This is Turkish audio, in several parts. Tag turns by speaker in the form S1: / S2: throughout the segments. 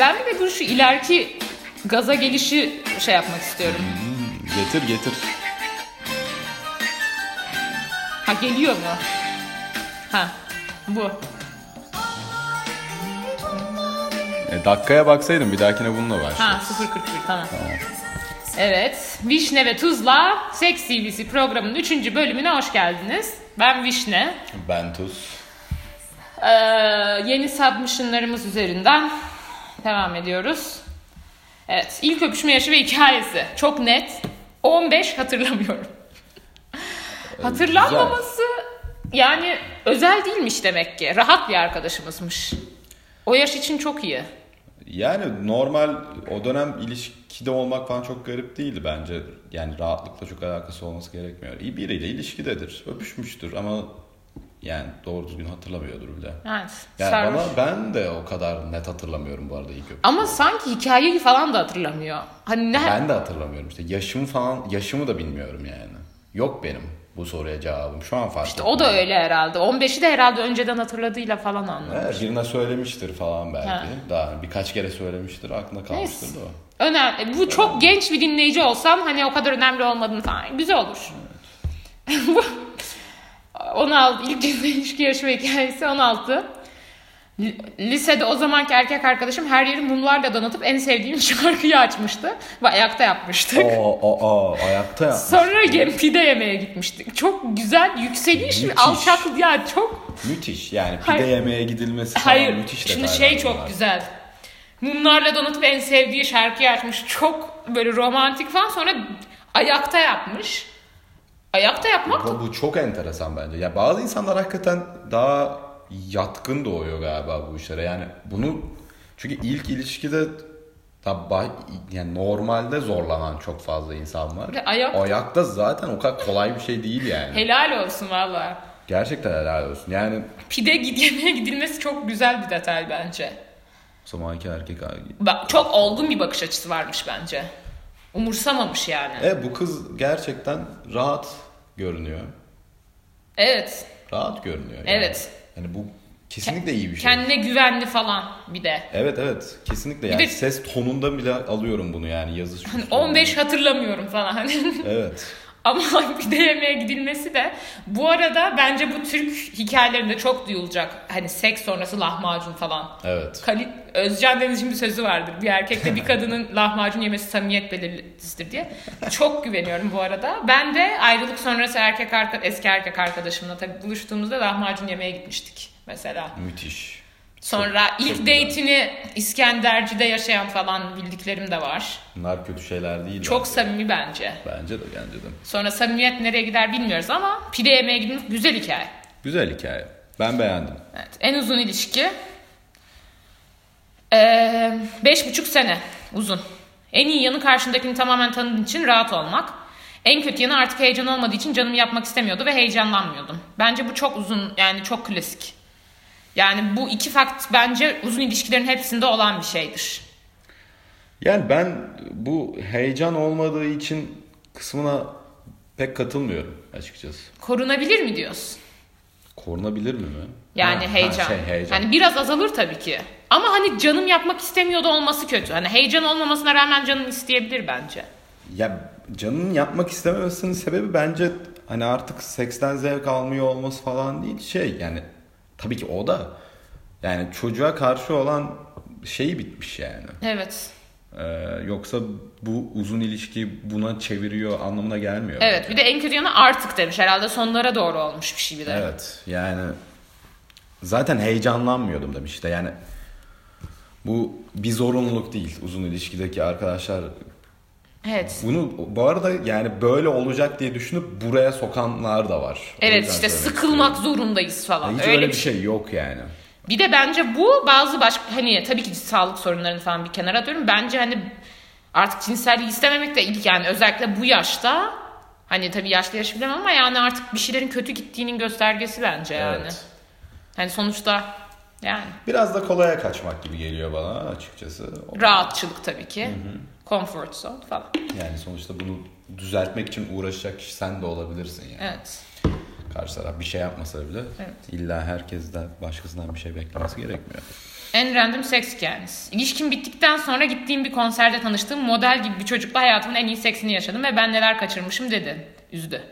S1: Ben bir de bu şu ileriki gaza gelişi şey yapmak istiyorum.
S2: Getir getir.
S1: Ha geliyor mu? Ha bu.
S2: E, dakikaya baksaydın bir dahakine bununla başla.
S1: Ha 041 tamam. Evet. Vişne ve Tuzla Seks CV'si programının 3. bölümüne hoş geldiniz. Ben Vişne.
S2: Ben tuz.
S1: Ee, yeni submissionlarımız üzerinden devam ediyoruz. Evet, ilk öpüşme yaşı ve hikayesi. Çok net. 15 hatırlamıyorum.
S2: Ee,
S1: Hatırlanmaması yani özel değilmiş demek ki. Rahat bir arkadaşımızmış. O yaş için çok iyi.
S2: Yani normal o dönem ilişkide olmak falan çok garip değildi bence. Yani rahatlıkla çok alakası olması gerekmiyor. İyi biriyle ilişkidedir. Öpüşmüştür ama yani doğru düzgün hatırlamıyordur bile.
S1: Evet.
S2: Yani
S1: sarhoş.
S2: bana ben de o kadar net hatırlamıyorum bu arada ilk öpüşmeyi.
S1: Ama sanki hikayeyi falan da hatırlamıyor. Hani ne?
S2: Ben de hatırlamıyorum işte yaşımı falan yaşımı da bilmiyorum yani. Yok benim bu soruya cevabım. Şu an fark
S1: İşte o da öyle herhalde. 15'i de herhalde önceden hatırladığıyla falan anladı.
S2: He, birine söylemiştir falan belki.
S1: Ha.
S2: Daha birkaç kere söylemiştir. Aklına kalmıştır
S1: Neyse.
S2: da o.
S1: Önemli. E, Bu çok genç bir dinleyici olsam hani o kadar önemli olmadığını falan. Güzel olur. Bu 16 ilk cinsel ilişki yaşama hikayesi 16. Li- Lisede o zamanki erkek arkadaşım her yeri mumlarla donatıp en sevdiğim şarkıyı açmıştı ve ayakta yapmıştık.
S2: O o o ayakta yapmış.
S1: Sonra yem- pide yemeye gitmiştik. Çok güzel yükseliş,
S2: Müthiş.
S1: alçak yani çok
S2: Müthiş yani pide
S1: Hayır.
S2: yemeye gidilmesi falan
S1: Hayır.
S2: müthiş
S1: Şimdi
S2: detaylar
S1: şey çok
S2: bunlar.
S1: güzel. Mumlarla donatıp en sevdiği şarkıyı açmış. Çok böyle romantik falan. Sonra ayakta yapmış. Ayakta yapmak
S2: Bu, bu çok enteresan bence. Ya bazı insanlar hakikaten daha yatkın doğuyor galiba bu işlere. Yani bunu çünkü ilk ilişkide tabi yani normalde zorlanan çok fazla insan var.
S1: Bir de ayak-
S2: Ayakta zaten o kadar kolay bir şey değil yani.
S1: helal olsun valla.
S2: Gerçekten helal olsun. Yani
S1: Pide gid- yemeğe gidilmesi çok güzel bir detay bence.
S2: o zamanki erkek abi.
S1: Bak, çok olgun bir bakış açısı varmış bence. Umursamamış yani. Evet.
S2: E bu kız gerçekten rahat görünüyor.
S1: evet.
S2: Rahat görünüyor. Yani.
S1: Evet.
S2: Yani bu kesinlikle iyi bir şey.
S1: Kendine güvenli falan bir de.
S2: Evet evet kesinlikle yani
S1: de-
S2: ses tonunda bile alıyorum bunu yani yazış.
S1: Hani 15 hatırlamıyorum falan. Hani
S2: Evet.
S1: Ama pide yemeğe gidilmesi de bu arada bence bu Türk hikayelerinde çok duyulacak. Hani seks sonrası lahmacun falan.
S2: Evet.
S1: Kali, Özcan Deniz'in bir sözü vardır. Bir erkekle bir kadının lahmacun yemesi samimiyet belirtisidir diye. Çok güveniyorum bu arada. Ben de ayrılık sonrası erkek arka, eski erkek arkadaşımla tabii buluştuğumuzda lahmacun yemeye gitmiştik mesela.
S2: Müthiş.
S1: Sonra ilk
S2: çok güzel.
S1: date'ini İskenderci'de yaşayan falan bildiklerim de var.
S2: Bunlar kötü şeyler değil.
S1: Çok samimi bence.
S2: Bence de bence de.
S1: Sonra samimiyet nereye gider bilmiyoruz ama pide yemeye gidilmiş güzel hikaye.
S2: Güzel hikaye. Ben beğendim.
S1: Evet, en uzun ilişki. Ee, beş buçuk sene uzun. En iyi yanı karşındakini tamamen tanıdığın için rahat olmak. En kötü yanı artık heyecan olmadığı için canım yapmak istemiyordu ve heyecanlanmıyordum. Bence bu çok uzun yani çok klasik. Yani bu iki fakt bence uzun ilişkilerin hepsinde olan bir şeydir.
S2: Yani ben bu heyecan olmadığı için kısmına pek katılmıyorum açıkçası.
S1: Korunabilir mi diyorsun?
S2: Korunabilir mi mi?
S1: Yani
S2: Ha, ha,
S1: heyecan. Hani
S2: şey, heyecan.
S1: Yani biraz azalır tabii ki. Ama hani canım yapmak istemiyordu olması kötü. Hani heyecan olmamasına rağmen canım isteyebilir bence.
S2: Ya canın yapmak istememesinin sebebi bence hani artık seksten zevk almıyor olması falan değil şey yani tabii ki o da yani çocuğa karşı olan şeyi bitmiş yani.
S1: Evet.
S2: Ee, yoksa bu uzun ilişki buna çeviriyor anlamına gelmiyor.
S1: Evet. Bir de en kötü yanı artık demiş. Herhalde sonlara doğru olmuş bir şey bir de.
S2: Evet yani zaten heyecanlanmıyordum demiş işte yani bu bir zorunluluk değil uzun ilişkideki arkadaşlar
S1: Evet.
S2: Bunu bu arada yani böyle olacak diye düşünüp buraya sokanlar da var. O
S1: Evet
S2: yüzden
S1: işte
S2: söylemek
S1: sıkılmak
S2: istiyorum.
S1: zorundayız falan.
S2: Hiç
S1: öyle, bir şey.
S2: şey yok yani.
S1: Bir de bence bu bazı başka hani tabii ki sağlık sorunlarını falan bir kenara atıyorum. Bence hani artık cinselliği istememek de ilk yani özellikle bu yaşta hani tabii yaşlı yaşı bilemem ama yani artık bir şeylerin kötü gittiğinin göstergesi bence yani.
S2: Evet.
S1: Hani sonuçta yani
S2: Biraz da kolaya kaçmak gibi geliyor bana açıkçası. O-
S1: rahatçılık tabii ki. Comfort zone falan.
S2: Yani sonuçta bunu düzeltmek için uğraşacak kişi sen de olabilirsin yani.
S1: Evet.
S2: Karşı taraf bir şey yapmasa bile
S1: Evet.
S2: illa herkes de başkasından bir şey beklemesi gerekmiyor.
S1: En random seks hikayeniz. İlişkim bittikten sonra gittiğim bir konserde tanıştığım model gibi bir çocukla hayatımın en iyi seksini yaşadım ve ben neler kaçırmışım dedi. Üzdü.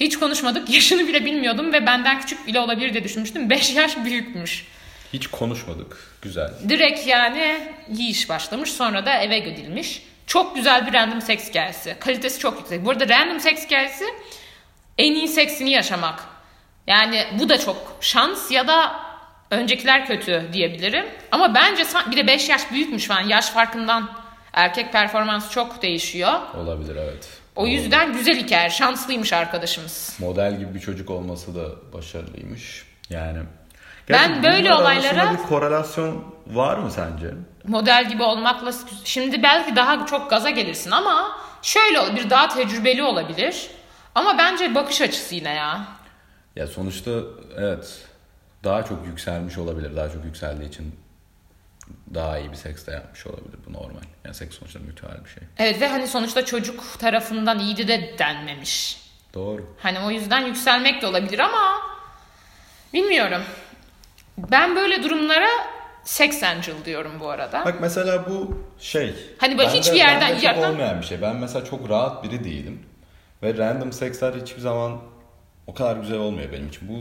S1: Hiç konuşmadık. Yaşını bile bilmiyordum ve benden küçük bile olabilir diye düşünmüştüm. 5 yaş büyükmüş.
S2: Hiç konuşmadık. Güzel.
S1: Direkt yani yiyiş başlamış sonra da eve gödilmiş. Çok güzel bir random seks hikayesi. Kalitesi çok yüksek. Bu arada random seks hikayesi en iyi seksini yaşamak. Yani bu da çok şans ya da öncekiler kötü diyebilirim. Ama bence san- bir de 5 yaş büyükmüş falan yaş farkından erkek performansı çok değişiyor.
S2: Olabilir evet.
S1: O yüzden güzel hikaye. Şanslıymış arkadaşımız.
S2: Model gibi bir çocuk olması da başarılıymış. Yani.
S1: Ben böyle
S2: bunlar
S1: olaylara-
S2: arasında bir korelasyon var mı sence?
S1: model gibi olmakla şimdi belki daha çok gaza gelirsin ama şöyle ol- bir daha tecrübeli olabilir. Ama bence bakış açısı yine ya.
S2: Ya sonuçta evet daha çok yükselmiş olabilir. Daha çok yükseldiği için daha iyi bir seks de yapmış olabilir. Bu normal. Yani seks sonuçta mütehal bir şey.
S1: Evet ve hani sonuçta çocuk tarafından iyiydi de denmemiş.
S2: Doğru.
S1: Hani o yüzden yükselmek de olabilir ama bilmiyorum. Ben böyle durumlara sex angel diyorum bu arada.
S2: Bak mesela bu şey.
S1: Hani bak
S2: bende-
S1: hiçbir yerden-
S2: bende çok
S1: yerden-
S2: olmayan bir şey. Ben mesela çok rahat biri değilim. Ve random seksler hiçbir zaman o kadar güzel olmuyor benim için. Bu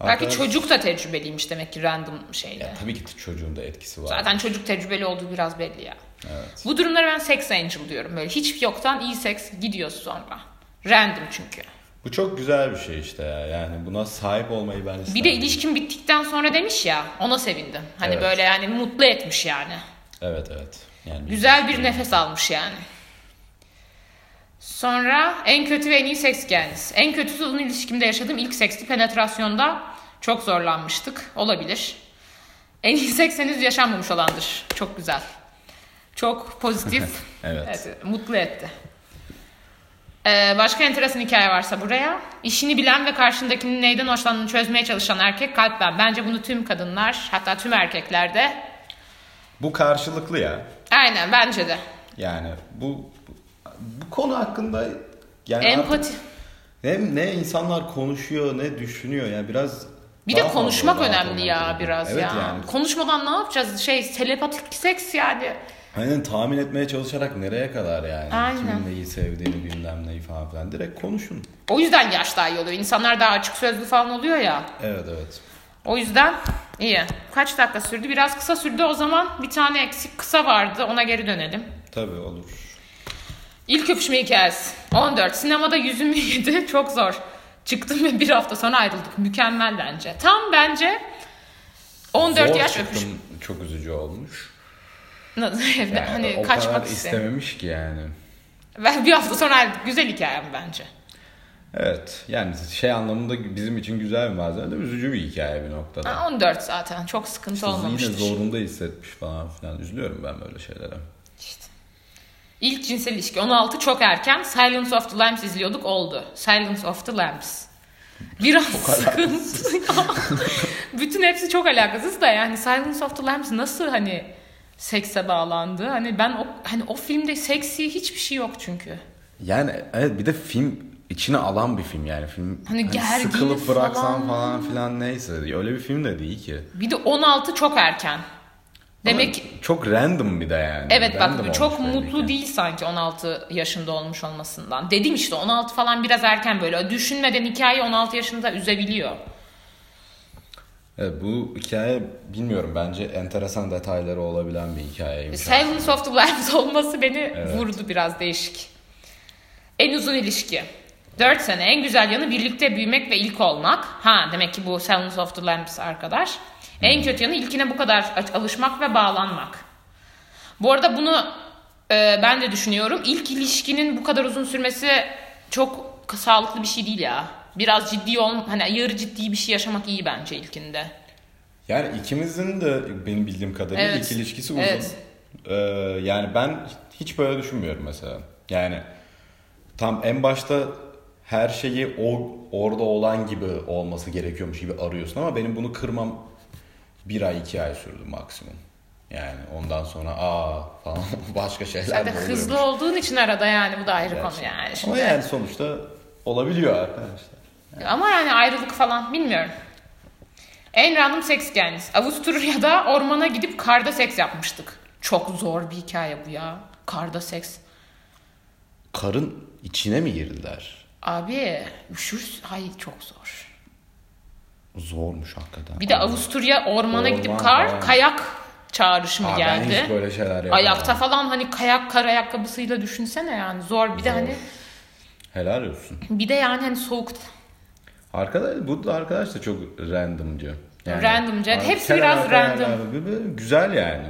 S1: Belki
S2: arkadaş-
S1: çocuk da tecrübeliymiş demek ki random şeyde.
S2: Ya tabii ki çocuğun da etkisi var.
S1: Zaten çocuk tecrübeli olduğu biraz belli ya.
S2: Evet.
S1: Bu durumlara ben sex angel diyorum. Böyle hiç yoktan iyi seks gidiyoruz sonra. Random çünkü.
S2: Bu çok güzel bir şey işte ya. Yani buna sahip olmayı ben isterim.
S1: Bir de ilişkin bittikten sonra demiş ya ona sevindim. Hani
S2: Evet.
S1: böyle yani mutlu etmiş yani.
S2: Evet evet. Yani
S1: Güzel bir nefes almış yani. Sonra en kötü ve en iyi seks hikayeniz. En kötüsü uzun ilişkimde yaşadığım ilk seksli penetrasyonda çok zorlanmıştık. Olabilir. En iyi seks henüz yaşanmamış olandır. Çok güzel. Çok pozitif.
S2: Evet.
S1: Evet, mutlu etti. Ee, başka enteresan hikaye varsa buraya. İşini bilen ve karşındakinin neyden hoşlandığını çözmeye çalışan erkek kalpten. Bence bunu tüm kadınlar hatta tüm erkekler de.
S2: Bu karşılıklı ya.
S1: Aynen bence de.
S2: Yani bu bu konu hakkında yani artık
S1: Empati.
S2: hem ne insanlar konuşuyor ne düşünüyor ya biraz
S1: Bir
S2: daha
S1: de
S2: fazla
S1: konuşmak
S2: rahat
S1: önemli
S2: olmak
S1: ya
S2: gerekiyor.
S1: biraz
S2: evet
S1: ya.
S2: Yani.
S1: Konuşmadan ne yapacağız? Şey telepatik seks yani.
S2: Aynen tahmin etmeye çalışarak nereye kadar yani.
S1: Aynen.
S2: Kimin neyi sevdiğini bilmem neyi falan filan. Direkt konuşun.
S1: O yüzden yaş daha iyi oluyor. İnsanlar daha açık sözlü falan oluyor ya.
S2: Evet evet.
S1: O yüzden iyi. Kaç dakika sürdü? Biraz kısa sürdü o zaman. Bir tane eksik kısa vardı. Ona geri dönelim.
S2: Tabii olur.
S1: İlk öpüşme hikayesi. 14. Sinemada yüzümü yedi. Çok zor. Çıktım ve bir hafta sonra ayrıldık. Mükemmel bence. Tam bence 14
S2: Zor
S1: yaş
S2: çıktım,
S1: öpüşme.
S2: Çok üzücü olmuş. Yani
S1: hani
S2: o kadar
S1: kaçmak istemiyorum.
S2: istememiş ki yani.
S1: Ben bir hafta sonra ayrıldık. Güzel hikayem bence.
S2: Evet yani şey anlamında bizim için güzel bir malzeme de üzücü bir hikaye bir noktada.
S1: Ha, 14 zaten. Çok sıkıntı
S2: Yine
S1: olmamıştır.
S2: zorunda hissetmiş falan filan. Üzülüyorum ben böyle şeylere.
S1: İşte. İlk cinsel ilişki 16 çok erken. Silence of the Lambs izliyorduk oldu. Silence of the Lambs. Biraz sıkıntı. Bütün hepsi çok alakasız da yani Silence of the Lambs nasıl hani sekse bağlandı? Hani ben o, hani o filmde seksi hiçbir şey yok çünkü.
S2: Yani evet bir de film içine alan bir film yani film
S1: Hani gergin
S2: sıkılıp bıraksan
S1: falan.
S2: falan filan neyse öyle bir film de değil ki.
S1: Bir de 16 çok erken. Demek
S2: Ama çok random bir de yani.
S1: Evet
S2: Random
S1: bak bu çok
S2: olmuş belli
S1: mutlu
S2: ki.
S1: değil sanki 16 yaşında olmuş olmasından. Dedim işte 16 falan biraz erken böyle. Düşünmeden hikaye 16 yaşında üzebiliyor.
S2: Evet, bu hikaye bilmiyorum bence enteresan detayları olabilen bir hikayeymiş.
S1: Silence of the Lambs olması beni vurdu biraz değişik. En uzun ilişki. 4 sene en güzel yanı birlikte büyümek ve ilk olmak. Ha demek ki bu Silence of the Lambs arkadaş. En kötü yanı ilkine bu kadar aç- alışmak ve bağlanmak. Bu arada bunu e, ben de düşünüyorum. İlk ilişkinin bu kadar uzun sürmesi çok sağlıklı bir şey değil ya. Biraz ciddi ol, hani yarı ciddi bir şey yaşamak iyi bence ilkinde.
S2: Yani ikimizin de benim bildiğim kadarıyla
S1: Evet.
S2: iki ilişkisi uzun.
S1: Evet.
S2: Ee, yani ben hiç böyle düşünmüyorum mesela. Yani tam en başta her şeyi o orada olan gibi olması gerekiyormuş gibi arıyorsun ama benim bunu kırmam bir ay iki ay sürdü maksimum. Yani ondan sonra aa falan başka şeyler
S1: Sen de
S2: de
S1: hızlı
S2: oluyormuş.
S1: olduğun için arada yani bu da ayrı konu
S2: Gerçi.
S1: yani. Şimdi
S2: Ama yani sonuçta olabiliyor arkadaşlar.
S1: Ama yani ayrılık falan bilmiyorum. En random seks hikayeniz. Avusturya'da ormana gidip karda seks yapmıştık. Çok zor bir hikaye bu ya. Karda seks.
S2: Karın içine mi girdiler?
S1: Abi üşür. Hayır çok zor.
S2: Zormuş hakikaten.
S1: Bir de Avusturya ormana
S2: Orman,
S1: gidip kar,
S2: evet.
S1: kayak çağrışımı
S2: Aa, Ben hiç
S1: geldi.
S2: böyle şey şeyler yapamam.
S1: Ayakta falan hani kayak kar ayakkabısıyla düşünsene yani zor. Bir de
S2: Zor.
S1: hani
S2: Helal olsun.
S1: bir de yani hani soğukta
S2: Arkadaş, bu da arkadaş da çok randomcı.
S1: Randomcı, evet. Hepsi
S2: kenar
S1: biraz
S2: arka
S1: random.
S2: yerler, bir- bir- Güzel yani.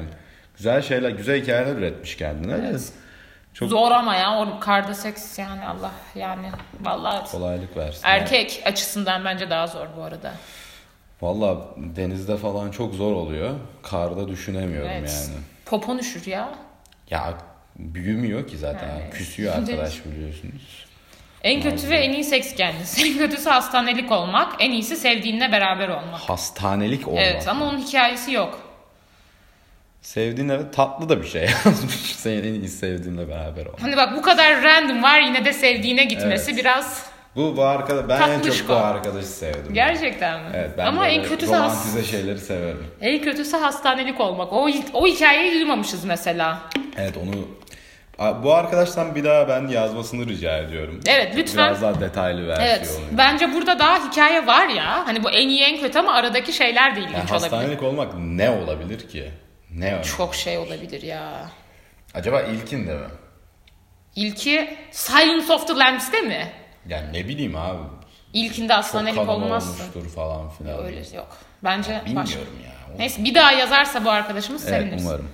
S2: Güzel şeyler, güzel hikayeler üretmiş kendine. Çok
S1: zor ama ya or- karda seks yani Allah yani vallahi
S2: kolaylık versin.
S1: erkek açısından bence daha zor bu arada.
S2: Valla denizde falan çok zor oluyor. Karda düşünemiyorum
S1: Evet.
S2: yani.
S1: Popon üşür ya.
S2: Ya büyümüyor ki zaten.
S1: Evet.
S2: Küsüyor arkadaş biliyorsunuz.
S1: En kötü ve en iyi seks kendisi. En kötüsü hastanelik olmak, en iyisi sevdiğinle beraber olmak.
S2: Hastanelik olmak.
S1: Evet ama onun hikayesi yok.
S2: Sevdiğin evet tatlı da bir şey yazmış. Senin en iyi sevdiğinle beraber ol.
S1: Hani bak bu kadar random var yine de sevdiğine gitmesi biraz
S2: Bu, bu arkadaş, ben en çok
S1: Tatlışko.
S2: bu arkadaşı sevdim.
S1: gerçekten mi?
S2: Evet, ben
S1: ama
S2: böyle
S1: en kötüsü has-
S2: romantize şeyleri severim.
S1: en kötüsü hastanelik olmak. O o hikayeyi duymamışız mesela.
S2: Evet onu A- bu arkadaştan bir daha ben yazmasını rica ediyorum.
S1: Evet, lütfen.
S2: Biraz daha detaylı versiyonu.
S1: Evet. Bence burada daha hikaye var ya. Hani bu en iyi en kötü ama aradaki şeyler de ilginç
S2: Yani
S1: olabilir.
S2: hastanelik olmak ne olabilir ki? Ne öyle?
S1: Çok şey olabilir ya.
S2: Acaba ilkin de mi?
S1: İlki Silence of the Lambs'de mi?
S2: Yani ne bileyim abi.
S1: İlkinde
S2: Çok
S1: hastanelik
S2: kanun
S1: olmazsın.
S2: olmuştur falan filan.
S1: Öyle şey yok. Bence başka.
S2: Bilmiyorum ya. O-
S1: Neyse bir daha yazarsa bu arkadaşımız
S2: Evet
S1: seviniriz.
S2: umarım.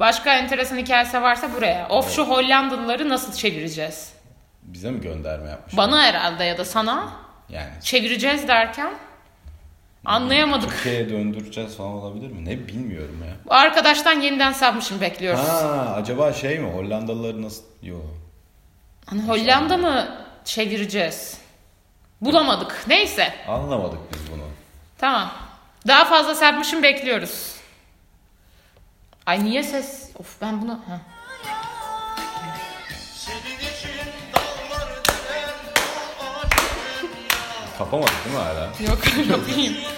S1: Başka enteresan hikayesi varsa buraya. Of şu Hollandalıları nasıl çevireceğiz?
S2: Bize mi gönderme yapmış?
S1: Bana herhalde ya da sana
S2: Yani
S1: çevireceğiz derken anlayamadık.
S2: Türkiye'ye döndüreceğiz falan olabilir mi? Ne bilmiyorum ya.
S1: Bu Arkadaştan yeniden submission bekliyoruz.
S2: Ha acaba şey mi? Hollandalıları nasıl? Yo.
S1: Hani Hollanda mı çevireceğiz? Bulamadık. Neyse.
S2: Anlamadık biz bunu.
S1: Tamam. Daha fazla serpmişim bekliyoruz. Ay niye ses? Of ben bunu... Heh.
S3: Senin için dağlar döner bu ağacın
S2: Kapamadık değil mi hala?
S1: Yok kapayım.